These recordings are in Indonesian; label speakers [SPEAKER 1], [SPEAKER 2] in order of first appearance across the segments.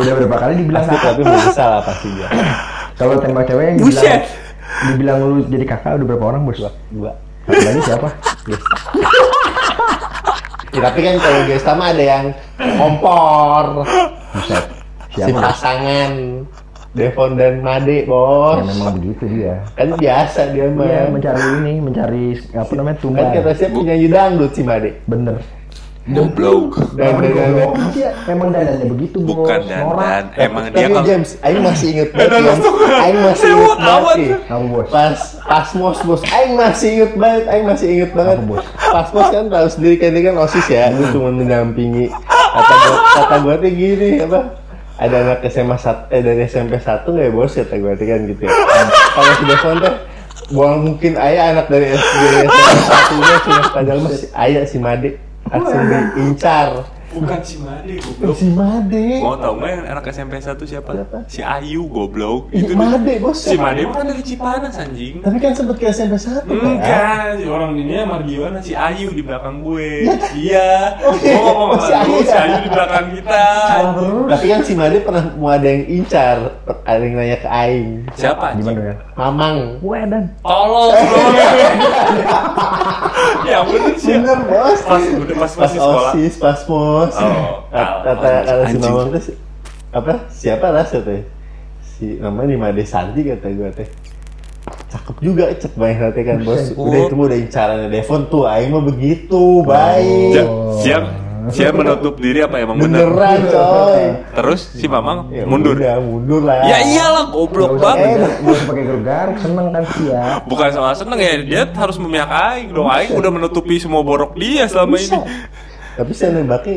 [SPEAKER 1] Udah berapa kali dibilang
[SPEAKER 2] Pasti
[SPEAKER 1] kakak?
[SPEAKER 2] Gitu, tapi belum bisa lah pastinya.
[SPEAKER 1] Kalau tembak cewek yang dibilang
[SPEAKER 3] Buset.
[SPEAKER 1] dibilang lu jadi kakak udah berapa orang bos?
[SPEAKER 2] Dua.
[SPEAKER 1] Satu lagi siapa?
[SPEAKER 2] Ya, tapi kan kalau Gesta mah ada yang kompor,
[SPEAKER 1] Buset.
[SPEAKER 2] si
[SPEAKER 1] Siapa?
[SPEAKER 2] pasangan Devon dan Made, bos.
[SPEAKER 1] Ya memang begitu dia.
[SPEAKER 2] Kan biasa dia mah.
[SPEAKER 1] Iya, mencari ini, mencari apa namanya
[SPEAKER 2] kan
[SPEAKER 1] tumbal.
[SPEAKER 2] kata saya punya dangdut si Made.
[SPEAKER 1] Bener.
[SPEAKER 4] Goblok.
[SPEAKER 2] Dan
[SPEAKER 1] Emang dia goblok. Iya, emang dandannya begitu bos.
[SPEAKER 4] Bukan
[SPEAKER 1] Norak.
[SPEAKER 4] dandan, emang dia
[SPEAKER 2] Tapi
[SPEAKER 4] kalau
[SPEAKER 2] James, Aing masih inget banget.
[SPEAKER 4] Dandan
[SPEAKER 2] James.
[SPEAKER 4] langsung.
[SPEAKER 2] Aing masih
[SPEAKER 4] Sewot
[SPEAKER 2] inget banget.
[SPEAKER 4] amat.
[SPEAKER 2] sih.
[SPEAKER 1] Kamu bos.
[SPEAKER 2] Pas pas mos bos, Aing masih inget banget. Aing masih inget banget.
[SPEAKER 1] Apa, Bos?
[SPEAKER 2] Pas mos kan tahu sendiri kan dia kan osis ya. Gue cuma mendampingi. Kata gue kata gue tuh gini apa? Ada anak SMA sat- eh dari SMP satu nggak ya bos kata gue tuh kan gitu. Ya. Kalau sudah konten buang mungkin ayah anak dari SD SMP satunya ya, cuma padahal masih ayah si Made langsung diincar.
[SPEAKER 4] bukan si Made goblok.
[SPEAKER 2] Si Made.
[SPEAKER 4] Mau tau nggak yang anak SMP 1 siapa?
[SPEAKER 2] Siapa?
[SPEAKER 4] Si Ayu goblok.
[SPEAKER 2] Ih,
[SPEAKER 4] Itu dia.
[SPEAKER 2] Made bos.
[SPEAKER 4] Si Made bukan dari Cipanas anjing.
[SPEAKER 2] Tapi kan sempet ke SMP
[SPEAKER 4] Hmm,
[SPEAKER 2] 1 kan?
[SPEAKER 4] Enggak, si orang ini Margiwana si Ayu di belakang gue. Iya. Gue ngomong
[SPEAKER 2] Si
[SPEAKER 4] sama lu,
[SPEAKER 2] Ayu.
[SPEAKER 4] si Ayu di belakang kita.
[SPEAKER 1] Salah terus.
[SPEAKER 2] Tapi kan si Made pernah mau ada yang incar, ada yang nanya ke Aing.
[SPEAKER 4] Siapa?
[SPEAKER 1] Gimana
[SPEAKER 4] anjing?
[SPEAKER 1] ya?
[SPEAKER 2] Mamang.
[SPEAKER 1] Gue dan.
[SPEAKER 4] Tolong. tolong. ya bener sih.
[SPEAKER 2] Bener bos.
[SPEAKER 4] Pas udah pas
[SPEAKER 2] Pas
[SPEAKER 4] masih sekolah.
[SPEAKER 2] osis, pas mos.
[SPEAKER 4] Oh,
[SPEAKER 2] Kata
[SPEAKER 4] anjing.
[SPEAKER 2] kata si
[SPEAKER 4] Anjing.
[SPEAKER 2] Mamang tuh si- apa? Siapa ras teh? Si namanya di Made Santi kata gue teh. Cakep juga, cek banyak nanti kan bos. Udah itu mah udah incarannya Devon tuh, Aing mah
[SPEAKER 4] Oh.
[SPEAKER 2] begitu,
[SPEAKER 4] Ja-
[SPEAKER 2] baik.
[SPEAKER 4] Dia dia menutup diri apa emang bener?
[SPEAKER 2] Beneran coy.
[SPEAKER 4] Terus si Mamang
[SPEAKER 2] Ya
[SPEAKER 4] mundur.
[SPEAKER 2] udah, Eh, mundur lah.
[SPEAKER 4] Ya iyalah
[SPEAKER 1] Gak
[SPEAKER 4] goblok
[SPEAKER 1] usah pakai
[SPEAKER 4] banget.
[SPEAKER 1] gar- gak usah pakai garuk, seneng kan dia.
[SPEAKER 4] Bukan soal seneng ya, dia harus memihak Aing dong. Aing udah menutupi semua borok dia selama
[SPEAKER 2] Bisa.
[SPEAKER 4] ini.
[SPEAKER 2] Tapi saya nembaknya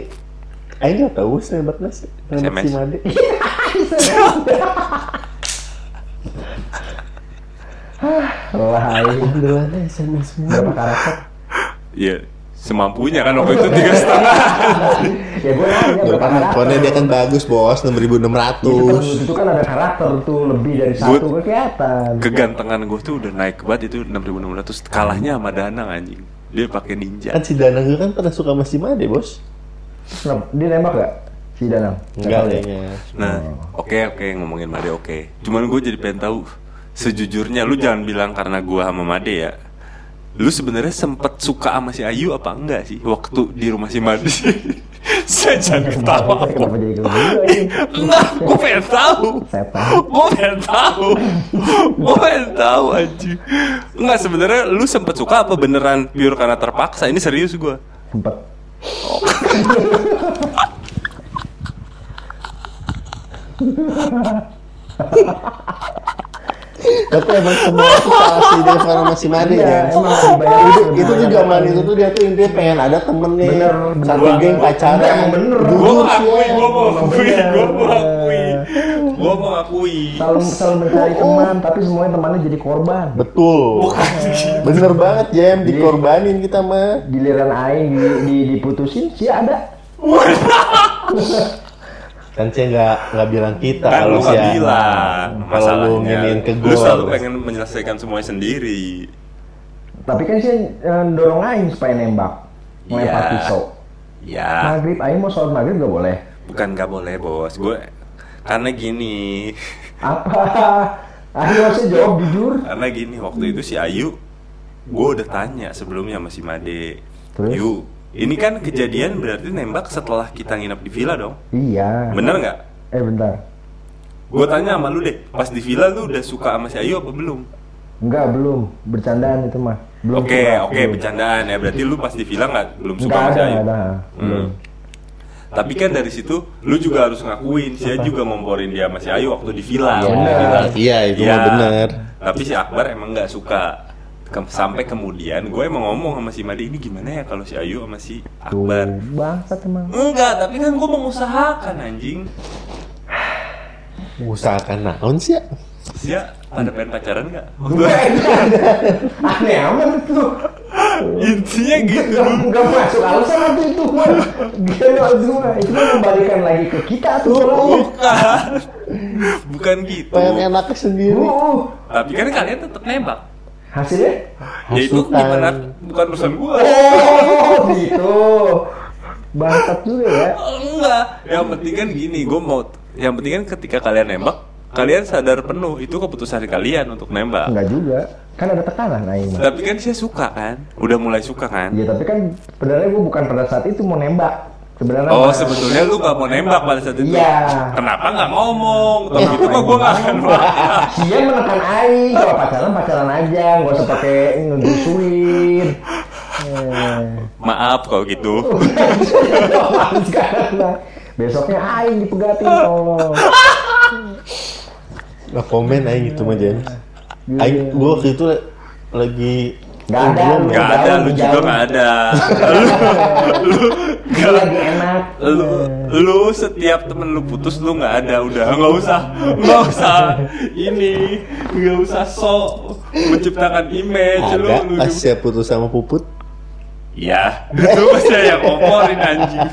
[SPEAKER 2] Aing nggak tahu saya nembaknya si- nembak
[SPEAKER 4] SMS.
[SPEAKER 2] si Made.
[SPEAKER 1] Lah, aing.
[SPEAKER 2] Benerannya SMS semua.
[SPEAKER 1] berapa karakter?
[SPEAKER 4] Iya, semampunya kan waktu itu tiga setengah.
[SPEAKER 1] Ya gue nanya berapa karakter?
[SPEAKER 2] Handphonenya dia kan bagus bos,
[SPEAKER 1] Itu kan,
[SPEAKER 2] 6600
[SPEAKER 1] itu kan ada karakter tuh lebih dari satu
[SPEAKER 4] Gua-
[SPEAKER 1] gua kelihatan.
[SPEAKER 4] Kegantengan gue tuh udah naik banget itu 6600 kalahnya sama Danang anjing. Dia pakai ninja.
[SPEAKER 2] Kan si Danang juga kan pernah suka sama si Made bos
[SPEAKER 1] Kenapa? Dia nembak gak? Si Danang?
[SPEAKER 2] Enggak
[SPEAKER 1] tahu ya?
[SPEAKER 2] kayaknya
[SPEAKER 4] Nah, oke oke ngomongin Made oke. Cuman gue jadi pengen tahu sejujurnya lu jangan bilang karena gua sama Made ya. Lu sebenarnya sempet suka sama si Ayu apa enggak sih waktu di rumah si Made? Saya jangan ketawa.
[SPEAKER 1] Saya Kenapa jadi kayak gitu. gini?
[SPEAKER 4] Enggak, gue pengen tahu.
[SPEAKER 1] Setan.
[SPEAKER 4] Gue pengen tahu. Gue pengen tahu anjing. Enggak sebenarnya lu sempet suka apa beneran pure karena terpaksa? Ini serius gue.
[SPEAKER 1] Sempet.
[SPEAKER 2] Tapi emang semua itu salah si Deva sama si Made
[SPEAKER 1] Iya,
[SPEAKER 2] ya
[SPEAKER 1] emang dibayar
[SPEAKER 2] Itu,
[SPEAKER 1] itu
[SPEAKER 2] itu tuh
[SPEAKER 1] banyak gitu.
[SPEAKER 2] zaman
[SPEAKER 1] banget.
[SPEAKER 2] itu tuh dia tuh intinya pengen ada temennya
[SPEAKER 1] Bener,
[SPEAKER 2] Satu
[SPEAKER 1] bener.
[SPEAKER 2] geng pacaran
[SPEAKER 1] Emang bener.
[SPEAKER 4] Gue
[SPEAKER 2] Gugur sih
[SPEAKER 4] mengakui,
[SPEAKER 2] ya.
[SPEAKER 4] gue mengakui,
[SPEAKER 1] Bener.
[SPEAKER 4] gue mengakui, gue mengakui.
[SPEAKER 1] Selalu, selalu
[SPEAKER 2] Oh.
[SPEAKER 1] mencari teman, tapi semuanya temannya jadi korban.
[SPEAKER 2] Betul Bener banget Jem, dikorbanin kita mah
[SPEAKER 1] Giliran Aing di, di- diputusin, sih ada.
[SPEAKER 2] Kan saya nggak nggak bilang kita
[SPEAKER 4] Kan lu
[SPEAKER 2] kalau
[SPEAKER 4] gak
[SPEAKER 2] sih ya.
[SPEAKER 4] bilang
[SPEAKER 2] Kalau lu
[SPEAKER 4] masalahnya.
[SPEAKER 2] nginin ke
[SPEAKER 4] Lu
[SPEAKER 2] gua.
[SPEAKER 4] selalu pengen menyelesaikan semuanya sendiri.
[SPEAKER 1] Tapi kan sih eh, dorong Aing supaya nembak. Melempar
[SPEAKER 4] Iya.
[SPEAKER 1] pisau.
[SPEAKER 2] Nah.
[SPEAKER 4] Ya,
[SPEAKER 1] Maghrib, Aing mau sholat maghrib gak boleh.
[SPEAKER 4] bukan gak boleh bos. Gue karena gini,
[SPEAKER 1] Apa? Aing harusnya jawab jujur.
[SPEAKER 4] Karena gini waktu itu si Ayu Gue udah tanya sebelumnya sama si Made
[SPEAKER 1] Terus?
[SPEAKER 4] Yu Ini kan kejadian berarti nembak setelah kita nginep di villa dong
[SPEAKER 1] Iya.
[SPEAKER 4] Bener nggak?
[SPEAKER 1] Eh bentar.
[SPEAKER 4] Gue tanya sama lu deh Pas di villa lu udah suka sama si Ayu apa belum?
[SPEAKER 1] Enggak, belum. Bercandaan itu mah. Belum
[SPEAKER 4] Oke
[SPEAKER 1] suka,
[SPEAKER 4] oke
[SPEAKER 1] belum.
[SPEAKER 4] bercandaan ya Berarti lu pas di villa nggak belum suka
[SPEAKER 1] Enggak
[SPEAKER 4] sama si
[SPEAKER 1] ada,
[SPEAKER 4] Ayu?
[SPEAKER 1] enggak ada. Belum.
[SPEAKER 4] Hmm. Tapi kan dari situ lu juga harus ngakuin Dia juga ngomporin dia sama si Ayu waktu di villa
[SPEAKER 1] Iya.
[SPEAKER 4] Waktu di villa.
[SPEAKER 2] Iya itu mah
[SPEAKER 4] Iya.
[SPEAKER 2] bener
[SPEAKER 4] Tapi si Akbar emang nggak suka. Ke- sampai kemudian gue emang ngomong sama si Made ini gimana ya kalau si Ayu sama si
[SPEAKER 1] Tuh,
[SPEAKER 4] Akbar.
[SPEAKER 1] bangsat emang.
[SPEAKER 4] Enggak, tapi kan gue mengusahakan anjing.
[SPEAKER 2] Usahakan naon sih ya
[SPEAKER 4] Sia, pada pengen pacaran nggak?
[SPEAKER 1] Aneh amat Ah, itu.
[SPEAKER 4] Intinya gitu.
[SPEAKER 1] Gak, gak masuk alasan waktu itu Wan. Gak masuk semua. Itu kan kembalikan lagi ke kita tuh soalnya.
[SPEAKER 4] Bukan. Bukan gitu.
[SPEAKER 2] pengen
[SPEAKER 1] Oh.
[SPEAKER 2] enaknya sendiri
[SPEAKER 1] Uh,
[SPEAKER 4] Tapi kan kalian tetap nembak.
[SPEAKER 1] hasilnya?
[SPEAKER 4] Ya itu
[SPEAKER 2] Hasutan.
[SPEAKER 4] gimana? Bukan urusan gua.
[SPEAKER 1] Oh gitu. Bangsat juga ya.
[SPEAKER 4] Enggak. Yang penting kan gini, gua mau yang penting kan ketika kalian nembak, kalian sadar penuh itu keputusan kalian untuk nembak.
[SPEAKER 1] Enggak juga. Kan ada tekanan nah ini.
[SPEAKER 4] Tapi kan saya suka kan? Udah mulai suka kan?
[SPEAKER 1] Ya tapi kan sebenarnya gue bukan pada saat itu mau nembak. Sebenarnya
[SPEAKER 4] Oh
[SPEAKER 1] pas-
[SPEAKER 4] sebetulnya lu gak mau nembak pada saat itu?
[SPEAKER 1] Iya.
[SPEAKER 4] Kenapa gak ngomong? Kalau gitu mah gue gak akan marah.
[SPEAKER 1] Dia menekan Aing kalau pacaran pacaran aja, nggak usah pakai ngegusuin. Eh,
[SPEAKER 4] Maaf kalau gitu.
[SPEAKER 1] Oh, sekarang lah. Besoknya Aing dipegatin tolong.
[SPEAKER 2] nggak komen aja gitu mah James
[SPEAKER 1] Iya.
[SPEAKER 2] Aing gue waktu itu lagi
[SPEAKER 1] Nggak ada,
[SPEAKER 2] belum ya.
[SPEAKER 4] Gak ada, lu juga gak ada. Lu, lu,
[SPEAKER 1] Dia
[SPEAKER 4] gak-
[SPEAKER 1] lagi enak.
[SPEAKER 4] lu, lu setiap temen lu putus lu gak ada udah nggak usah nggak usah ini nggak usah sok menciptakan image lu
[SPEAKER 2] ada
[SPEAKER 4] lu
[SPEAKER 2] pas saya putus sama puput
[SPEAKER 4] ya itu masih yang komporin anjing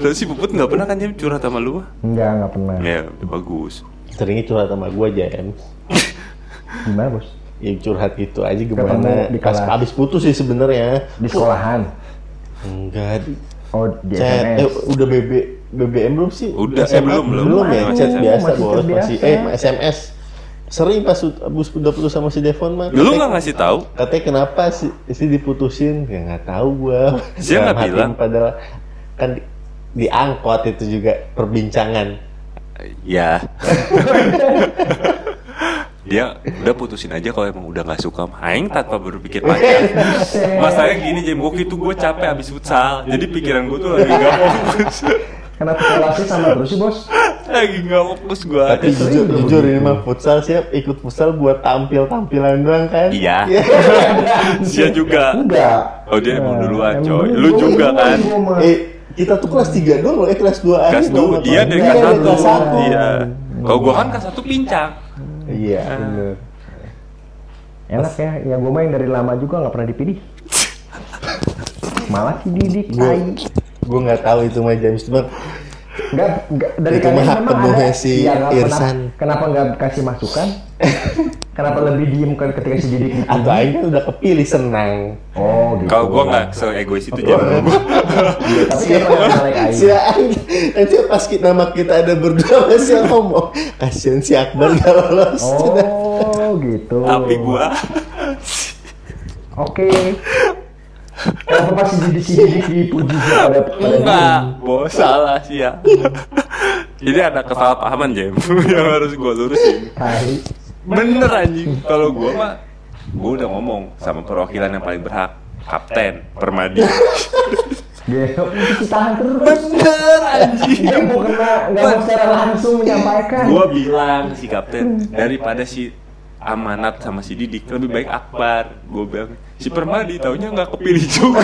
[SPEAKER 4] Terus si Puput gak pernah kan dia curhat sama lu?
[SPEAKER 1] Enggak, enggak pernah.
[SPEAKER 4] Ya, udah bagus.
[SPEAKER 2] seringnya curhat sama gue James
[SPEAKER 1] Gimana, Bos?
[SPEAKER 2] ya curhat gitu aja
[SPEAKER 1] Ketemu
[SPEAKER 2] gimana
[SPEAKER 1] di
[SPEAKER 2] pas
[SPEAKER 1] kelas.
[SPEAKER 2] abis putus sih sebenarnya
[SPEAKER 1] Di sekolahan.
[SPEAKER 2] enggak di-
[SPEAKER 1] Oh, di
[SPEAKER 2] chat eh,
[SPEAKER 1] SMS.
[SPEAKER 2] udah BB BBM belum sih
[SPEAKER 4] Udah, eh,
[SPEAKER 2] SMA?
[SPEAKER 4] belum, belum.
[SPEAKER 2] belum ya
[SPEAKER 4] Masih
[SPEAKER 2] chat
[SPEAKER 4] SMS.
[SPEAKER 2] biasa
[SPEAKER 1] Masih
[SPEAKER 2] bos
[SPEAKER 1] chat
[SPEAKER 2] masih eh
[SPEAKER 1] biasa.
[SPEAKER 2] SMS sering pas ut- abis udah putus sama si Devon mah
[SPEAKER 4] Ya, Lu
[SPEAKER 2] katanya-
[SPEAKER 4] gak ngasih tahu?
[SPEAKER 2] katanya kenapa si, si diputusin ya nggak tahu gua
[SPEAKER 4] Dia
[SPEAKER 2] Dalam
[SPEAKER 4] nggak
[SPEAKER 2] hati
[SPEAKER 4] bilang.
[SPEAKER 2] padahal kan di- diangkot itu juga perbincangan
[SPEAKER 4] Ya. Dia udah putusin aja kalau emang udah nggak suka sama Aing tanpa berpikir panjang. Masalahnya gini Jem, waktu itu gue capek habis futsal, jadi pikiran gue tuh lagi nggak fokus,
[SPEAKER 1] Kenapa kelasnya sama terus Kan sih, Bos?
[SPEAKER 4] lagi nggak fokus gue.
[SPEAKER 2] tapi
[SPEAKER 1] sering
[SPEAKER 2] jujur
[SPEAKER 1] juga
[SPEAKER 2] jujur
[SPEAKER 1] begitu.
[SPEAKER 2] ini mah futsal siap ikut futsal buat tampil tampilan doang kan
[SPEAKER 4] Iya. Dia Iya juga.
[SPEAKER 1] Enggak. Eh,
[SPEAKER 4] Oh dia emang duluan
[SPEAKER 1] Emang
[SPEAKER 4] coy,
[SPEAKER 1] dulu
[SPEAKER 4] lu
[SPEAKER 1] gua-
[SPEAKER 4] juga
[SPEAKER 1] gua-
[SPEAKER 4] kan.
[SPEAKER 1] gua mah-
[SPEAKER 2] eh kita tuh kelas 3 doang loh eh kelas 2
[SPEAKER 4] Kelas dua, dia dari kelas satu, iya. Kalau gue kan kelas satu pincang.
[SPEAKER 2] iya bener
[SPEAKER 1] Enak ya, ya gue main dari lama juga nggak pernah dipilih. Malah si Didik,
[SPEAKER 2] gue
[SPEAKER 1] tai.
[SPEAKER 2] gue nggak tahu itu mah James cuma
[SPEAKER 1] Nggak, nggak- dari
[SPEAKER 2] Itu mah hak penuhnya si
[SPEAKER 1] Iya, nggak pernah-
[SPEAKER 2] Irsan.
[SPEAKER 1] Kenapa nggak kasih masukan? kenapa lebih diem kan ketika si Didik dipilih?
[SPEAKER 2] atau Aing kan udah kepilih senang
[SPEAKER 1] Oh gitu.
[SPEAKER 4] Kalau gue nggak se-egois itu Jem.
[SPEAKER 1] Iya, Tapi kenapa nggak nyalain Aing?
[SPEAKER 2] si Aing nanti pas kita nama kita ada berdua masih ngomong kasihan si Akbar gak lolos
[SPEAKER 1] Oh gitu.
[SPEAKER 4] Tapi gue
[SPEAKER 1] Oke. Kenapa pas si Didik si Didik dipuji sih pada pada
[SPEAKER 4] enggak, bos salah sih ya. Jadi ada kesalahpahaman Jem yang Iya, harus gue lurusin.
[SPEAKER 1] Tai.
[SPEAKER 4] Bener anjing. Kalau gua mah gua udah ngomong sama perwakilan yang paling berhak, kapten Permadi.
[SPEAKER 1] Gelo, itu tahan terus.
[SPEAKER 4] Bener anjing.
[SPEAKER 1] Dia mau kena, nggak mau secara langsung menyampaikan.
[SPEAKER 4] Gua bilang si kapten daripada si amanat sama si Didik lebih baik Akbar. Gua bilang si Permadi taunya nggak kepilih juga.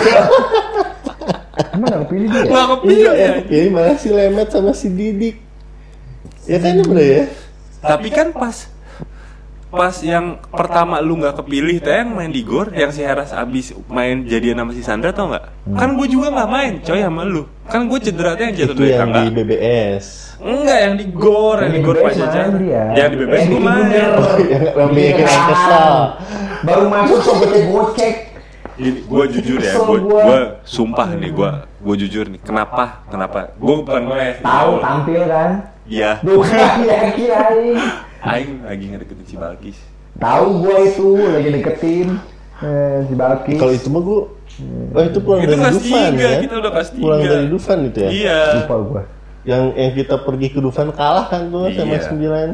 [SPEAKER 1] Emang nggak kepilih dia?
[SPEAKER 4] Nggak kepilih
[SPEAKER 2] iya ya
[SPEAKER 4] anjing.
[SPEAKER 2] ini malah si Lemet sama si Didik ya kan ya bro ya
[SPEAKER 4] Tapi kan pas pas yang pertama lu nggak kepilih teh yang main di gor yang si Heras abis main jadian sama si Sandra tau
[SPEAKER 2] Hmm.
[SPEAKER 4] nggak kan gue juga nggak main coy sama lu kan gue cedera teh yang jatuh
[SPEAKER 2] itu
[SPEAKER 4] dari
[SPEAKER 2] yang
[SPEAKER 4] tangga
[SPEAKER 2] di BBS
[SPEAKER 4] Enggak yang di gor, yang di gor
[SPEAKER 1] Bebes
[SPEAKER 4] Pajajaran.
[SPEAKER 1] main dia.
[SPEAKER 4] Yang di bebes
[SPEAKER 1] Eh,
[SPEAKER 4] gue
[SPEAKER 1] di
[SPEAKER 4] main.
[SPEAKER 1] Gunder.
[SPEAKER 2] yang Oh, iya, rame
[SPEAKER 1] Di
[SPEAKER 2] yang kesel.
[SPEAKER 1] Baru masuk sobatnya gocek.
[SPEAKER 4] Ini gue jujur ya,
[SPEAKER 1] Kesel
[SPEAKER 4] gue
[SPEAKER 1] gua.
[SPEAKER 4] gue sumpah nih gue gue jujur nih. Kenapa? Kenapa? Gue bukan ngeles.
[SPEAKER 1] Tahu tampil kan?
[SPEAKER 4] Iya.
[SPEAKER 1] Duh, yakin aing.
[SPEAKER 4] Aing lagi ngedeketin si Balkis.
[SPEAKER 1] Tahu gua itu lagi deketin eh, si Balkis.
[SPEAKER 2] kalau itu mah gue Oh itu pulang
[SPEAKER 4] Itu
[SPEAKER 2] dari
[SPEAKER 4] kelas
[SPEAKER 2] Dufan
[SPEAKER 4] tiga,
[SPEAKER 2] ya?
[SPEAKER 4] kita udah kelas
[SPEAKER 2] Pulang
[SPEAKER 4] tiga.
[SPEAKER 2] dari Dufan itu ya?
[SPEAKER 4] Iya.
[SPEAKER 1] lupa gua.
[SPEAKER 2] Yang yang kita pergi ke Dufan kalah kan tuh sama
[SPEAKER 4] Iya.
[SPEAKER 2] sembilan.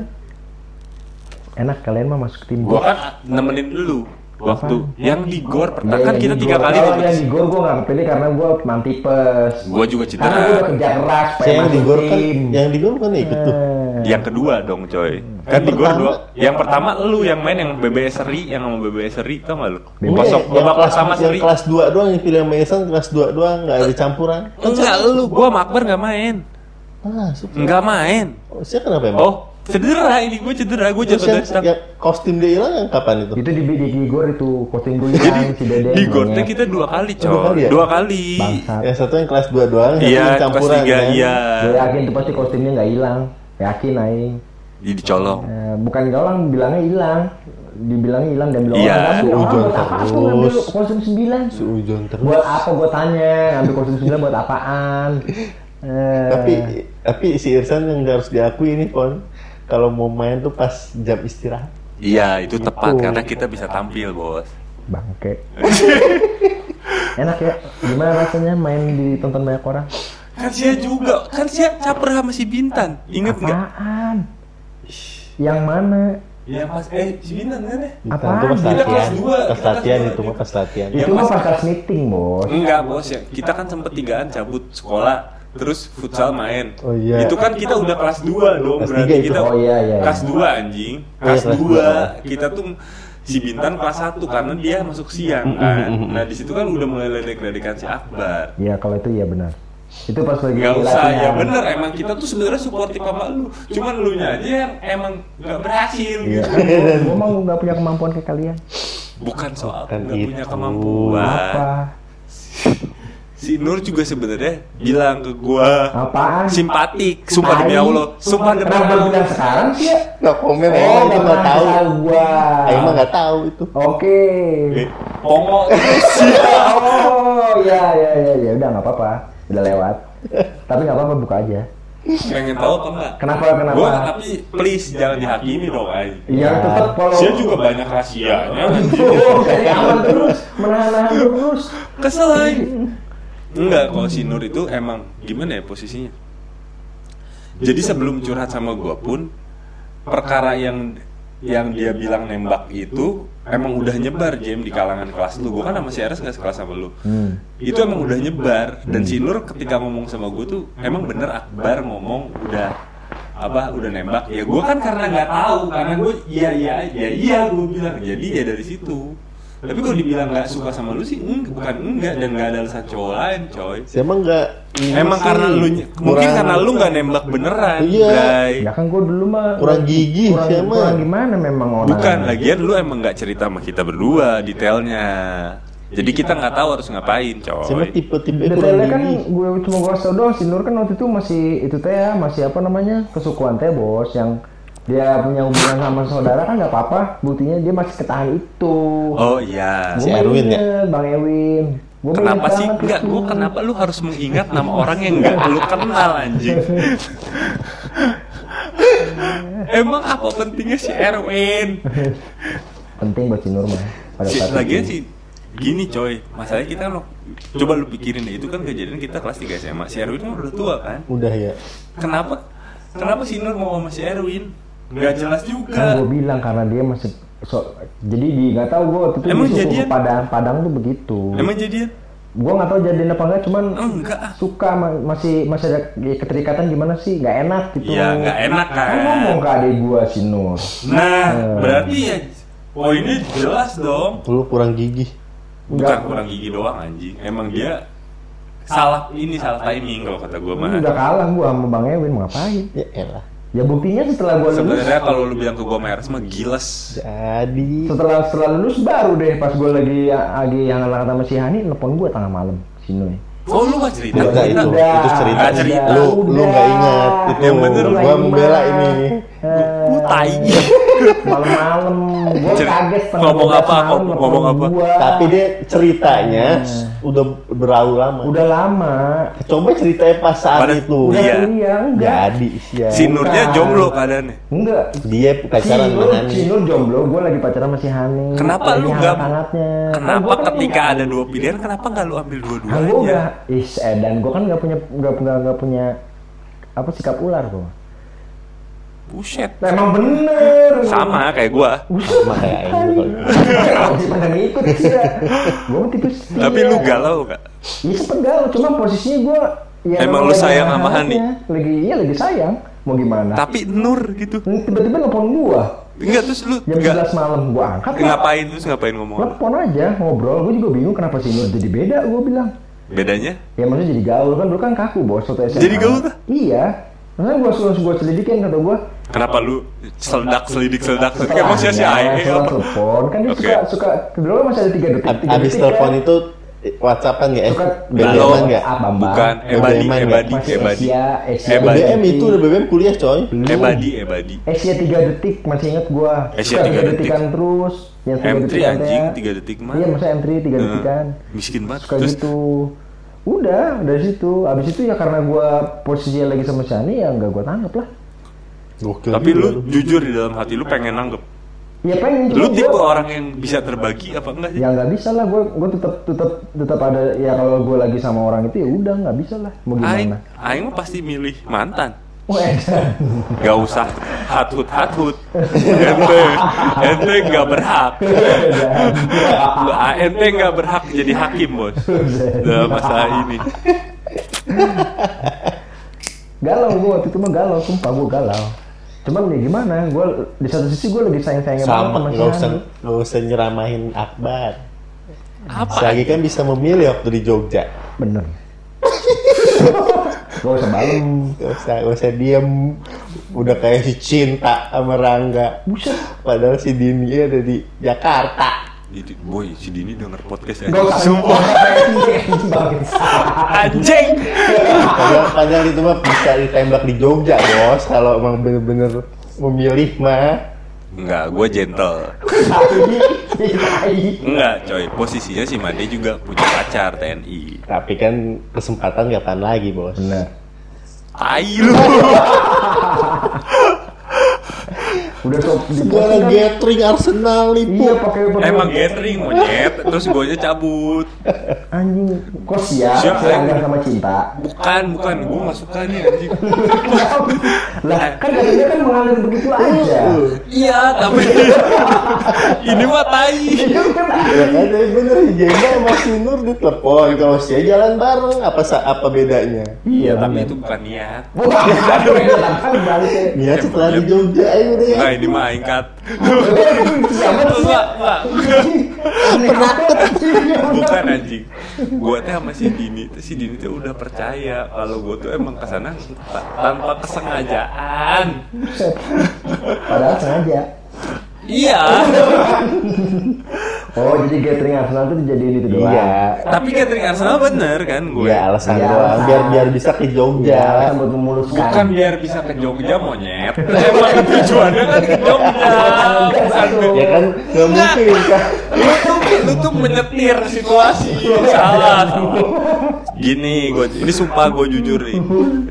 [SPEAKER 1] Enak kalian mah masuk tim
[SPEAKER 4] Gue
[SPEAKER 1] gua.
[SPEAKER 4] kan nemenin lu waktu yang di gor
[SPEAKER 2] Iya,
[SPEAKER 4] pertama kan
[SPEAKER 1] Yang
[SPEAKER 4] kita
[SPEAKER 1] di
[SPEAKER 4] tiga
[SPEAKER 1] gor-
[SPEAKER 2] Oh,
[SPEAKER 4] kali
[SPEAKER 1] Iya, kalau yang
[SPEAKER 4] nih.
[SPEAKER 1] di gor gua nggak kepilih karena gua cuma tipes.
[SPEAKER 4] Gue juga
[SPEAKER 1] Karena gua udah
[SPEAKER 4] cedera.
[SPEAKER 1] kerja keras supaya
[SPEAKER 2] Saya yang di
[SPEAKER 1] masuk
[SPEAKER 2] gor kan,
[SPEAKER 1] tim.
[SPEAKER 2] yang di gor bukan ikut tuh.
[SPEAKER 1] Eh,
[SPEAKER 4] Yang kedua dong coy. Kan di gor
[SPEAKER 2] Eh, pertama-
[SPEAKER 4] dua. Yang pertama lu yang main yang BBS Seri, yang sama BBS Seri tau gak lu?
[SPEAKER 1] Iya,
[SPEAKER 4] Kosong
[SPEAKER 2] Iya, yang
[SPEAKER 4] babak
[SPEAKER 2] kelas,
[SPEAKER 4] pertama
[SPEAKER 2] yang
[SPEAKER 4] Seri.
[SPEAKER 2] kelas 2 doang yang pilih sama Isan kelas 2 doang nggak ada campuran.
[SPEAKER 4] Enggak lu, gue sama Akbar gak main.
[SPEAKER 2] Masuk.
[SPEAKER 4] Enggak main.
[SPEAKER 2] Oh, siapa kenapa emang?
[SPEAKER 4] Oh, Cedera ini gue cedera gue
[SPEAKER 2] Terus
[SPEAKER 4] jatuh
[SPEAKER 2] yang,
[SPEAKER 4] dari tangga.
[SPEAKER 2] yang kostum dia hilang yang kapan itu?
[SPEAKER 1] Itu di di Gigor itu posting gue hilang si Deden. Iya.
[SPEAKER 4] Di gornya
[SPEAKER 1] namanya.
[SPEAKER 4] kita dua kali
[SPEAKER 2] Dua
[SPEAKER 4] coy.
[SPEAKER 2] kali ya?
[SPEAKER 4] Dua kali.
[SPEAKER 1] Bangsat.
[SPEAKER 2] Yang satu yang kelas 2 doang, yang satu
[SPEAKER 4] Iya
[SPEAKER 2] yang
[SPEAKER 4] kelas
[SPEAKER 2] campuran.
[SPEAKER 4] tiga
[SPEAKER 2] kan?
[SPEAKER 4] iya.
[SPEAKER 1] Gue yakin itu pasti kostumnya nggak hilang. Yakin aing.
[SPEAKER 4] Ih, Dicolong.
[SPEAKER 1] Eh, bukan galang, bilangnya hilang. Dibilangnya hilang dan bilang
[SPEAKER 4] Iya.
[SPEAKER 1] orang ngambil. Orang
[SPEAKER 2] Hujan
[SPEAKER 1] buat apa aku ngambil
[SPEAKER 2] terus.
[SPEAKER 1] kostum 9?
[SPEAKER 2] Si Ujon terus.
[SPEAKER 1] Buat apa gue tanya ngambil kostum 9 buat apaan? Eh,
[SPEAKER 2] tapi tapi si Irsan yang harus diakui ini pon kalau mau main tuh pas jam istirahat
[SPEAKER 4] Iya itu tepat
[SPEAKER 2] Gitu.
[SPEAKER 4] karena kita bisa tampil bos.
[SPEAKER 1] bangke. Enak ya? Gimana rasanya main ditonton banyak orang?
[SPEAKER 4] Kan sia juga, kan sia caper sama si Bintan. Ingat nggak?
[SPEAKER 1] Apaan? Yang mana?
[SPEAKER 4] Yang pas eh si Bintan kan ya?
[SPEAKER 1] Apaan?
[SPEAKER 2] itu pas
[SPEAKER 1] Kita
[SPEAKER 2] latihan
[SPEAKER 4] kelas dua,
[SPEAKER 2] pas
[SPEAKER 4] kita
[SPEAKER 2] latihan
[SPEAKER 4] kelas
[SPEAKER 2] itu
[SPEAKER 4] dua.
[SPEAKER 2] mah pas latihan
[SPEAKER 4] Iya.
[SPEAKER 1] Itu mah
[SPEAKER 4] Mas-
[SPEAKER 1] pas meeting, Bos.
[SPEAKER 4] Enggak bos ya, kita kan sempet tigaan cabut sekolah Terus futsal main
[SPEAKER 2] Oh, iya.
[SPEAKER 4] Itu kan kita udah kelas 2 dong
[SPEAKER 2] Kelas
[SPEAKER 4] Berarti
[SPEAKER 2] tiga itu.
[SPEAKER 4] kita
[SPEAKER 1] Oh, iya, iya, iya.
[SPEAKER 4] kelas 2 anjing
[SPEAKER 2] iya,
[SPEAKER 4] Kelas
[SPEAKER 2] kelas
[SPEAKER 4] 2 Kita tuh si Bintan kelas 1 Karena dia masuk siang kan Nah disitu kan udah mulai ledek-ledekan si Akbar
[SPEAKER 1] Ya kalau itu ya benar. Itu pas lagi
[SPEAKER 4] Gak usah ya
[SPEAKER 1] latihan.
[SPEAKER 4] bener emang kita tuh sebenarnya supportif sama lu Cuman lu nya aja yang emang gak berhasil
[SPEAKER 1] Iya.
[SPEAKER 4] gitu
[SPEAKER 1] Gue emang nggak punya kemampuan kayak kalian.
[SPEAKER 4] Bukan soal
[SPEAKER 2] Bukan
[SPEAKER 4] gak punya
[SPEAKER 2] itu.
[SPEAKER 4] kemampuan
[SPEAKER 1] Kan gitu. Apa?
[SPEAKER 4] Si Nur juga sebenarnya bilang ke gua
[SPEAKER 1] Apaan?
[SPEAKER 4] simpatik sumpah demi
[SPEAKER 1] Tai.
[SPEAKER 4] Allah sumpah demi
[SPEAKER 1] Kenapa lu bilang
[SPEAKER 4] Allah
[SPEAKER 1] sekarang sih ya?
[SPEAKER 2] nggak komen ya
[SPEAKER 1] Oh,
[SPEAKER 2] itu nggak tahu
[SPEAKER 1] Gua.
[SPEAKER 2] Aing mah nggak tahu itu
[SPEAKER 1] Oke.
[SPEAKER 4] Eh, pongo terus
[SPEAKER 1] Oh, ya ya ya ya udah nggak apa-apa. Udah lewat. Tapi nggak apa-apa buka aja.
[SPEAKER 4] pengen tahu apa enggak
[SPEAKER 1] Kenapa kenapa?
[SPEAKER 4] gua tapi please jangan dihakimi dong ay
[SPEAKER 1] Iya tetap follow.
[SPEAKER 4] dia juga banyak rahasianya
[SPEAKER 1] Oh, cari aman terus, menahan-nahan terus.
[SPEAKER 4] kesel ay enggak kalau si Nur itu emang gimana ya posisinya jadi sebelum curhat sama gua pun perkara yang yang dia bilang nembak itu emang udah nyebar Jem di kalangan kelas lu gua kan sama si Eres nggak sekelas sama lu
[SPEAKER 1] Hmm.
[SPEAKER 4] itu emang udah nyebar dan si Nur ketika ngomong sama gue tuh emang bener Akbar ngomong udah apa udah nembak ya gue kan karena nggak tahu karena gue iya iya iya iya gue bilang jadi ya dari situ tapi kalau dibilang nggak suka sama lu sih eng- bukan enggak dan nggak ada alasan cowok lain coy
[SPEAKER 2] Si emang nggak
[SPEAKER 4] emang
[SPEAKER 2] sih,
[SPEAKER 4] karena lu mungkin
[SPEAKER 2] kurang-
[SPEAKER 4] karena lu nggak nembak beneran
[SPEAKER 2] Iya.
[SPEAKER 4] Bray.
[SPEAKER 1] Ya kan gue dulu mah
[SPEAKER 2] Kurang gigi,
[SPEAKER 1] kurang,
[SPEAKER 2] siapa?
[SPEAKER 1] kurang gimana memang orang.
[SPEAKER 4] bukan lagian lu emang nggak cerita sama kita berdua detailnya jadi kita nggak tahu harus ngapain
[SPEAKER 2] Si emang
[SPEAKER 4] coy
[SPEAKER 2] tipe-tipe kurang
[SPEAKER 1] Detailnya kan
[SPEAKER 2] gigi
[SPEAKER 1] gue cuma gue tau doang si Nur kan waktu itu masih itu teh ya masih apa namanya kesukuan teh bos yang dia punya hubungan sama saudara kan nggak apa-apa buktinya dia masih ketahan itu
[SPEAKER 4] oh iya
[SPEAKER 1] Gua
[SPEAKER 2] si Erwin ya?
[SPEAKER 1] inget, bang Erwin Gua
[SPEAKER 4] Kenapa
[SPEAKER 1] inget
[SPEAKER 4] sih
[SPEAKER 1] banget
[SPEAKER 4] enggak?
[SPEAKER 1] itu.
[SPEAKER 4] Gue kenapa lu harus mengingat nama orang yang enggak lu kenal anjing? Emang apa pentingnya si Erwin?
[SPEAKER 1] penting buat si Nur mah pada
[SPEAKER 4] Si,
[SPEAKER 1] saat
[SPEAKER 4] lagian
[SPEAKER 1] itu.
[SPEAKER 4] sih gini coy, masalahnya kita kan lo- coba lu pikirin deh, itu kan kejadian kita kelas 3 SMA. Si Erwin kan udah tua kan?
[SPEAKER 2] udah ya
[SPEAKER 4] Kenapa? Kenapa si Nur mau sama si Erwin? Enggak jelas
[SPEAKER 1] kan
[SPEAKER 4] juga.
[SPEAKER 1] gue bilang karena dia masih so- jadi di nggak tahu gue waktu itu
[SPEAKER 4] Emang
[SPEAKER 1] di suku
[SPEAKER 4] jadian?
[SPEAKER 1] Padang Padang tuh begitu
[SPEAKER 4] Emang jadian?
[SPEAKER 1] gue nggak tahu jadian apa enggak cuman
[SPEAKER 4] Enggak. ah.
[SPEAKER 1] suka ma- masih masih ada keterikatan gimana sih nggak enak gitu
[SPEAKER 4] Iya, nggak enak kan?
[SPEAKER 1] Gua ngomong ke adik gua si Nur
[SPEAKER 4] Nah, berarti ya poinnya jelas dong.
[SPEAKER 2] lu kurang gigi
[SPEAKER 4] Bukan kurang gigi doang anjing. Emang dia salah ini salah timing kalau kata gue mah.
[SPEAKER 1] Ini udah kalah gua sama Bang Ewin mau ngapain
[SPEAKER 2] ya elah
[SPEAKER 1] ya buktinya setelah gua lulus
[SPEAKER 4] Sebenarnya kalau lu bilang ke gue meres mah giles.
[SPEAKER 2] jadi
[SPEAKER 1] setelah setelah lulus baru deh pas gua lagi lagi yang anak sama si Hani nelpon gua tengah malam si Nur
[SPEAKER 4] Oh lu gak cerita?
[SPEAKER 2] Enggak,
[SPEAKER 4] cerita.
[SPEAKER 2] itu,
[SPEAKER 1] udah,
[SPEAKER 2] itu cerita.
[SPEAKER 4] Nggak cerita.
[SPEAKER 2] Lu, lu
[SPEAKER 1] Udah.
[SPEAKER 2] nggak ingat. Itu
[SPEAKER 4] Yang bener, lu
[SPEAKER 2] gua
[SPEAKER 1] nggak
[SPEAKER 2] membela
[SPEAKER 1] ingat.
[SPEAKER 2] ini.
[SPEAKER 1] Eh,
[SPEAKER 4] Lu tai.
[SPEAKER 1] malam-malam gua
[SPEAKER 4] Cer-
[SPEAKER 1] kaget setengah
[SPEAKER 4] ngomong
[SPEAKER 1] 12
[SPEAKER 4] apa?
[SPEAKER 1] malam
[SPEAKER 4] Ngomong-
[SPEAKER 1] nelpon
[SPEAKER 4] ngomong apa?
[SPEAKER 1] gua.
[SPEAKER 2] Tapi dia ceritanya udah berlalu lama.
[SPEAKER 1] udah lama
[SPEAKER 2] Coba ceritanya pas saat
[SPEAKER 4] Pada-
[SPEAKER 2] itu.
[SPEAKER 1] udah
[SPEAKER 4] Iya.
[SPEAKER 1] kuliah enggak
[SPEAKER 2] Jadi sia.
[SPEAKER 4] Si
[SPEAKER 2] Nah.
[SPEAKER 4] Nurnya jomblo keadaannya.
[SPEAKER 1] enggak
[SPEAKER 2] Dia pacaran sama
[SPEAKER 1] Cinur,
[SPEAKER 2] Hani.
[SPEAKER 1] Cinur jomblo, gue lagi pacaran sama si Hani.
[SPEAKER 4] Kenapa lu nggak?
[SPEAKER 1] hangatnya? Kan
[SPEAKER 4] Kenapa ketika ada dua pilihan kenapa nggak lu ambil
[SPEAKER 1] Nah, gue
[SPEAKER 4] dua-duanya?
[SPEAKER 1] udah, ih dan gue kan nggak punya nggak nggak nggak punya apa sikap ular gue.
[SPEAKER 4] Buset.
[SPEAKER 1] Nah, emang bener.
[SPEAKER 4] Sama kayak gue.
[SPEAKER 2] Sama kayak ini. kalau-
[SPEAKER 1] Masih pada ngikut sih ya. Gue mau tipis.
[SPEAKER 4] Tapi lu galau gak?
[SPEAKER 1] ya. Iya sempet galau, cuma posisinya gue. Ya,
[SPEAKER 4] Emang lu
[SPEAKER 1] lagi
[SPEAKER 4] sayang sama
[SPEAKER 1] hangat-hangatnya. Lagi iya lagi sayang. Mau gimana?
[SPEAKER 4] Tapi Nur gitu.
[SPEAKER 1] Ini Tiba-tiba nelfon gue
[SPEAKER 4] Enggak terus lu
[SPEAKER 1] jam
[SPEAKER 4] enggak
[SPEAKER 1] 11 malam gue angkat. lah.
[SPEAKER 4] ngapain terus ngapain ngomong?
[SPEAKER 1] Telepon aja ngobrol, gue juga bingung kenapa si Nur jadi beda, gue bilang.
[SPEAKER 4] Bedanya?
[SPEAKER 1] Ya maksudnya jadi gaul kan dulu kan kaku bos waktu SMA.
[SPEAKER 4] Jadi gaul tuh?
[SPEAKER 1] Iya. Makanya gue langsung gue selidikin kata gue,
[SPEAKER 4] Kenapa lu seledak selidik seledak selidik
[SPEAKER 1] Setelah
[SPEAKER 4] emang sia
[SPEAKER 2] Iya,
[SPEAKER 4] sia
[SPEAKER 1] ada,
[SPEAKER 4] aja
[SPEAKER 1] setelah
[SPEAKER 4] apa?
[SPEAKER 1] telepon kan dia
[SPEAKER 4] Oke.
[SPEAKER 1] suka suka dulu masih ada tiga detik.
[SPEAKER 2] Ab-
[SPEAKER 1] tiga
[SPEAKER 2] abis
[SPEAKER 1] detik,
[SPEAKER 2] telepon
[SPEAKER 1] kan?
[SPEAKER 2] itu WhatsAppan nggak? Eh,
[SPEAKER 1] Suka
[SPEAKER 2] BBM
[SPEAKER 4] nggak?
[SPEAKER 2] nggak?
[SPEAKER 1] kan Ah, Bambang.
[SPEAKER 4] Bukan, ebadi,
[SPEAKER 2] Bagaimana?
[SPEAKER 4] ebadi,
[SPEAKER 1] Masih
[SPEAKER 4] ebadi,
[SPEAKER 1] Asia, Asia.
[SPEAKER 4] Eh, Badi.
[SPEAKER 2] BBM itu udah BBM kuliah coy.
[SPEAKER 4] ebadi, ebadi.
[SPEAKER 1] Asia tiga detik masih inget gua.
[SPEAKER 4] Asia
[SPEAKER 1] Suka
[SPEAKER 4] tiga
[SPEAKER 1] detikan terus. Yang tiga
[SPEAKER 4] M3
[SPEAKER 1] detik ada.
[SPEAKER 4] anjing, tiga detik mah.
[SPEAKER 1] Iya maksudnya M3 tiga
[SPEAKER 4] Eh,
[SPEAKER 1] detikan.
[SPEAKER 4] miskin banget.
[SPEAKER 1] Suka
[SPEAKER 4] Terus
[SPEAKER 1] gitu. Udah dari situ. Abis itu ya karena gua posisinya lagi sama Shani ya nggak gua tanggap lah.
[SPEAKER 2] Gokil
[SPEAKER 4] tapi
[SPEAKER 2] juga
[SPEAKER 4] lu jujur di dalam hati lu pengen nanggep.
[SPEAKER 1] Ya pengen
[SPEAKER 4] Lu
[SPEAKER 1] cuma
[SPEAKER 4] tipe
[SPEAKER 1] gua-
[SPEAKER 4] orang yang bisa terbagi apa enggak sih?
[SPEAKER 1] ya nggak bisa lah gue gue tetap tetap tetap ada ya kalau gue lagi sama orang itu ya udah nggak bisa lah mau
[SPEAKER 4] Aing,
[SPEAKER 1] gimana Oh, eh,
[SPEAKER 4] Aing mah pasti milih mantan.
[SPEAKER 1] Weh,
[SPEAKER 4] Gak usah hatut hatut. Ente, ente nggak berhak. Ente nggak berhak jadi hakim bos dalam masalah ini.
[SPEAKER 1] galau gue waktu itu mah galau sumpah gue galau cuman ya gimana gue di satu sisi gue lagi sayang sayangnya
[SPEAKER 2] sama nggak usah nggak usah nyeramahin Akbar.
[SPEAKER 4] Apa?
[SPEAKER 2] Selagi kan bisa memilih waktu di Jogja.
[SPEAKER 1] bener gak usah balem
[SPEAKER 2] Gak usah, gak usah diem. Udah kayak si Cinta sama Rangga.
[SPEAKER 1] buset
[SPEAKER 2] Padahal si Dini ada di Jakarta.
[SPEAKER 4] Jadi, boy, si Dini denger podcast ya.
[SPEAKER 1] gak usah
[SPEAKER 4] aja. Sumpah, anjing.
[SPEAKER 2] Padahal, padahal itu mah bisa ditembak di Jogja bos. Kalau emang bener-bener memilih mah.
[SPEAKER 4] Enggak, gue gentle. Enggak, coy. Posisinya si Made juga punya pacar TNI.
[SPEAKER 2] Tapi kan kesempatan kapan lagi bos.
[SPEAKER 1] bener
[SPEAKER 4] Tai lu.
[SPEAKER 1] udah sob di
[SPEAKER 2] Segala gathering Arsenal
[SPEAKER 1] iya
[SPEAKER 2] itu.
[SPEAKER 1] pakai pakai
[SPEAKER 4] Emang gathering monyet, terus gue cabut.
[SPEAKER 1] anjing kos ya
[SPEAKER 4] Siap,
[SPEAKER 1] sayang
[SPEAKER 4] Aing.
[SPEAKER 1] sama cinta
[SPEAKER 4] Bukan, bukan. Gue gak suka nih anjing.
[SPEAKER 1] lah kan katanya kan mengalir begitu aja
[SPEAKER 4] Iya, tapi Iya. ini mah tai.
[SPEAKER 2] Ya kan, tapi bener Jemba sama si Nur ditelepon. Kalau saya jalan bareng, apa sa- apa bedanya?
[SPEAKER 4] Iya, tapi
[SPEAKER 1] bener.
[SPEAKER 4] itu bukan niat.
[SPEAKER 1] bukan aduh kan baliknya
[SPEAKER 2] Ya setelah di Jogja, ayo ya. deh.
[SPEAKER 4] Nah, ini mah ingkat.
[SPEAKER 1] Siapa sih?
[SPEAKER 4] Enggak, enggak.
[SPEAKER 1] penakut Iya,
[SPEAKER 4] Bukan anjing. Gua teh sama si Dini, tuh si Dini tuh udah percaya kalau gua tuh emang kesana ta- tanpa kesengajaan.
[SPEAKER 1] padahal sengaja
[SPEAKER 4] Iya.
[SPEAKER 1] oh jadi gathering Arsenal tuh dijadiin itu doang Ya,
[SPEAKER 2] Iya.
[SPEAKER 4] Tapi catering Arsenal bener kan gue.
[SPEAKER 2] Iya, alasan
[SPEAKER 1] Iya,
[SPEAKER 2] doang.
[SPEAKER 1] alasan.
[SPEAKER 2] Biar biar bisa ke
[SPEAKER 1] ya
[SPEAKER 2] Jogja.
[SPEAKER 1] kan buat memuluskan
[SPEAKER 4] Bukan biar bisa ke Jogja monyet. Emang tujuannya kan ke Jogja. Bukan ke-
[SPEAKER 2] Ya kan, nggak mungkin kan.
[SPEAKER 4] lu tuh lu tuh menyetir situasi salah salah. gini gua ini sumpah gue jujur nih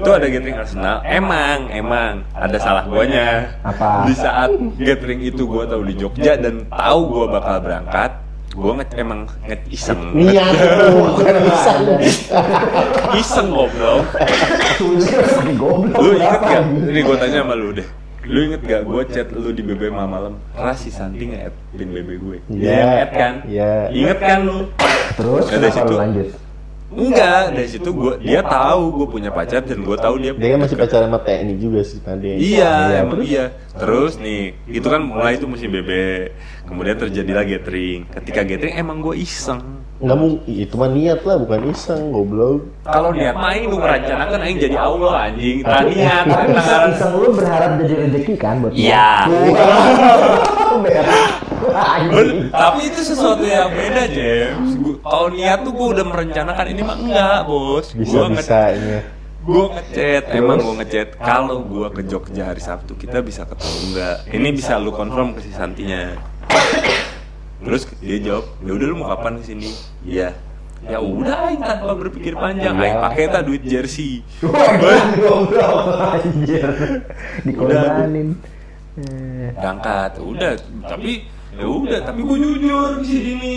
[SPEAKER 4] itu ada gathering Arsenal emang emang ada salah guanya
[SPEAKER 1] Apa?
[SPEAKER 4] di saat gathering itu gue tahu di Jogja dan tahu gue bakal berangkat gue nge emang nge iseng
[SPEAKER 2] Niat itu bukan bisa.
[SPEAKER 4] iseng goblok
[SPEAKER 1] goblok
[SPEAKER 4] lu inget
[SPEAKER 1] berapa?
[SPEAKER 4] gak ini gue tanya sama lu deh lu inget gak gue chat lu di BB malam rasi santi nge-add pin BB gue
[SPEAKER 2] Iya.
[SPEAKER 4] Dia nge-add kan
[SPEAKER 2] Iya.
[SPEAKER 4] inget kan lu
[SPEAKER 1] terus
[SPEAKER 4] Ya, dari
[SPEAKER 1] kenapa lu
[SPEAKER 4] situ.
[SPEAKER 1] lanjut
[SPEAKER 4] Enggak, dari situ gua dia tahu gue punya pacar dan gue tahu Iya. dia
[SPEAKER 2] Dia kan masih pacaran sama TNI juga sih Ya, tadi.
[SPEAKER 4] Iya, emang iya. Terus nih, itu kan mulai itu musim bebek. Kemudian terjadilah gathering. Ketika gathering emang gue iseng.
[SPEAKER 2] Nggak mung- itu mah niat lah, bukan iseng, goblok.
[SPEAKER 4] Kalau niat main lu merencanakan aing jadi Allah anjing.
[SPEAKER 2] ya,
[SPEAKER 4] Taniat, tangan.
[SPEAKER 1] iseng lu berharap jadi rezeki kan buat lu?
[SPEAKER 4] Iya.
[SPEAKER 1] Berat. Anjing.
[SPEAKER 4] Ben- Tapi itu sesuatu yang beda, James. Gua- Kalau niat tuh gue udah merencanakan ini mah enggak, Bos.
[SPEAKER 2] Bisa iya.
[SPEAKER 4] Gua nge-
[SPEAKER 2] bisanya.
[SPEAKER 4] Gue ngechat, emang gue ngechat kalau gue ke Jogja hari Sabtu kita bisa ketemu nggak? Ini bisa lu confirm ke si Santinya. Terus dia jawab, ya udah lu mau kapan kesini? Iya. Ya udah, aing tanpa berpikir panjang, aing
[SPEAKER 2] Iya.
[SPEAKER 4] pakai ta duit jersey.
[SPEAKER 1] Goblok anjir. Dikorbanin. Eh,
[SPEAKER 4] Berangkat, udah. Tapi ya udah, tapi gue jujur di sini.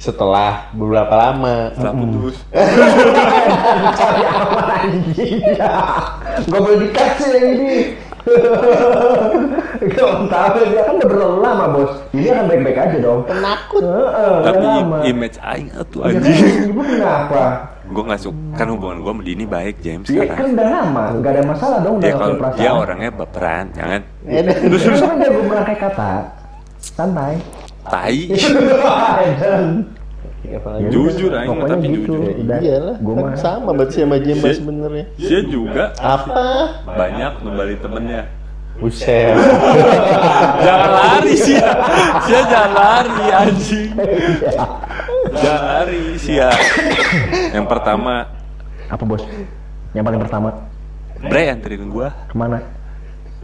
[SPEAKER 2] Setelah beberapa lama.
[SPEAKER 4] Setelah putus,
[SPEAKER 1] Cari aman anjing. Gak boleh dikasih yang ini. Gak tahu dia kan udah berlalu lama bos. Ini akan baik-baik aja dong. Penakut.
[SPEAKER 4] tapi
[SPEAKER 2] Iya,
[SPEAKER 1] lama.
[SPEAKER 4] image aing tuh
[SPEAKER 1] Ya kan,
[SPEAKER 4] anjing.
[SPEAKER 1] ibu kenapa?
[SPEAKER 4] Gue nggak suka, kan hubungan gue sama Dini baik James
[SPEAKER 1] Iya
[SPEAKER 4] sekarang.
[SPEAKER 1] kan udah lama, gak ada masalah dong udah
[SPEAKER 4] Dia kalau
[SPEAKER 1] ngakuin perasaan.
[SPEAKER 4] dia orangnya baperan, ya kan? jangan
[SPEAKER 2] Eh, dan-
[SPEAKER 1] Terus kan dia gue merangkai kata, santai. Iya,
[SPEAKER 4] tai.
[SPEAKER 2] Apalagi-
[SPEAKER 4] Jujur aja,
[SPEAKER 1] Pokoknya
[SPEAKER 4] tapi
[SPEAKER 1] gitu.
[SPEAKER 4] jujur.
[SPEAKER 2] Ya,
[SPEAKER 1] Udah,
[SPEAKER 2] iyalah,
[SPEAKER 1] gua
[SPEAKER 2] kan
[SPEAKER 1] mah-
[SPEAKER 4] Iya.
[SPEAKER 2] sama berarti sama Jemba sebenarnya.
[SPEAKER 4] Dia juga
[SPEAKER 2] Apa?
[SPEAKER 4] banyak kembali temennya.
[SPEAKER 2] Buset.
[SPEAKER 4] jangan lari sih Sia jangan lari anjing
[SPEAKER 1] Iya.
[SPEAKER 4] jangan lari Sia yang pertama
[SPEAKER 1] Apa bos? Yang paling pertama
[SPEAKER 4] Bre anterin gua
[SPEAKER 1] kemana?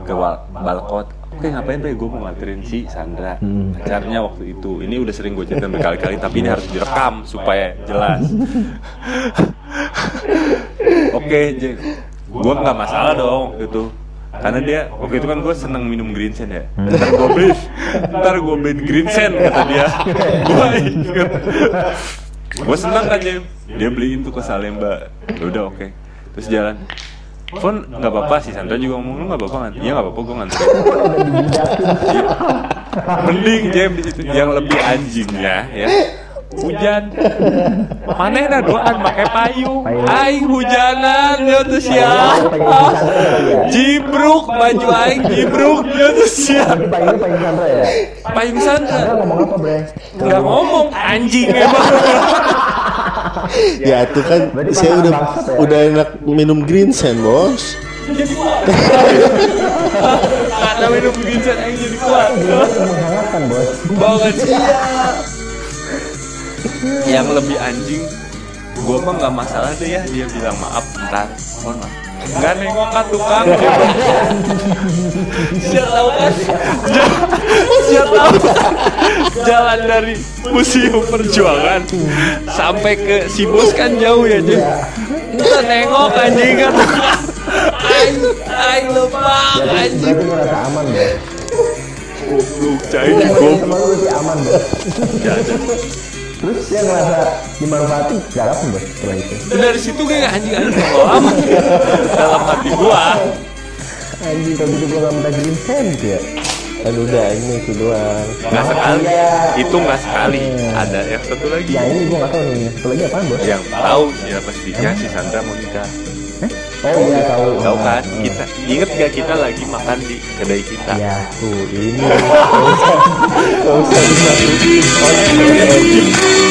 [SPEAKER 4] ke bal- balkot oke ngapain Bre gua mau nganterin si Sandra pacarnya waktu itu ini udah sering gua cerita berkali-kali tapi ini harus direkam supaya jelas oke Jeng gua nggak masalah dong waktu itu karena dia waktu itu kan gue seneng minum green sen ya ntar gue beli ntar gue beli green sen kata dia gue inget gue seneng kan Jeng. dia beliin tuh ke Salemba Ya udah oke terus jalan Fon nggak apa-apa sih Sandra juga ngomong lu nggak apa-apa kan iya nggak apa-apa gue nganter Iya. mending Jam di situ yang lebih anjingnya ya hujan mana doaan pakai payung aing hujanan ya tuh siapa jibruk baju aing jibruk ya tuh siapa
[SPEAKER 1] Ini paling ini paling Sandra ya?
[SPEAKER 4] payung
[SPEAKER 1] Sandra
[SPEAKER 4] Sandra
[SPEAKER 1] ngomong apa bre?
[SPEAKER 4] nggak ngomong anjing emang
[SPEAKER 2] ya itu kan
[SPEAKER 1] Berarti
[SPEAKER 2] saya
[SPEAKER 1] pernah
[SPEAKER 2] udah
[SPEAKER 1] bangsat ya?
[SPEAKER 2] udah enak minum green sand bos.
[SPEAKER 4] karena minum ginseng aing jadi kuat
[SPEAKER 1] Menghangatkan bos.
[SPEAKER 4] banget Iya. yang lebih anjing gue mah nggak masalah deh ya dia bilang maaf ntar mohon maaf nggak nengok kan tukang dia bilang. siap tahu kan Jalan- siap tahu kan? jalan dari museum perjuangan sampai ke si bos kan jauh ya jadi nggak nengok anjing kan tukang Aing, aing lupa anjing
[SPEAKER 1] Berarti ngerasa aman Iya, bos.
[SPEAKER 4] Goblok, cai goblok
[SPEAKER 1] Teman lu sih aman bos. Terus dia ngerasa dimanfaati, gak apa bos setelah itu.
[SPEAKER 4] dari situ gue nggak anjing anjing kalau amat dalam hati gua
[SPEAKER 1] Anjing kalau gitu gua gak minta green hand gitu ya.
[SPEAKER 2] Kan udah ini itu doang.
[SPEAKER 4] nggak Nah, sekali itu nggak sekali ada yang satu lagi
[SPEAKER 1] Iya. Nah ini gua gak tau nih, satu lagi apaan bos?
[SPEAKER 4] yang tahu ya pastinya si Sandra mau nikah
[SPEAKER 1] Oh iya tahu.
[SPEAKER 4] tahu kan kita inget gak kita lagi makan di kedai kita
[SPEAKER 1] Ya.
[SPEAKER 2] Tuh ini. Gak usah- gak usah disatuin.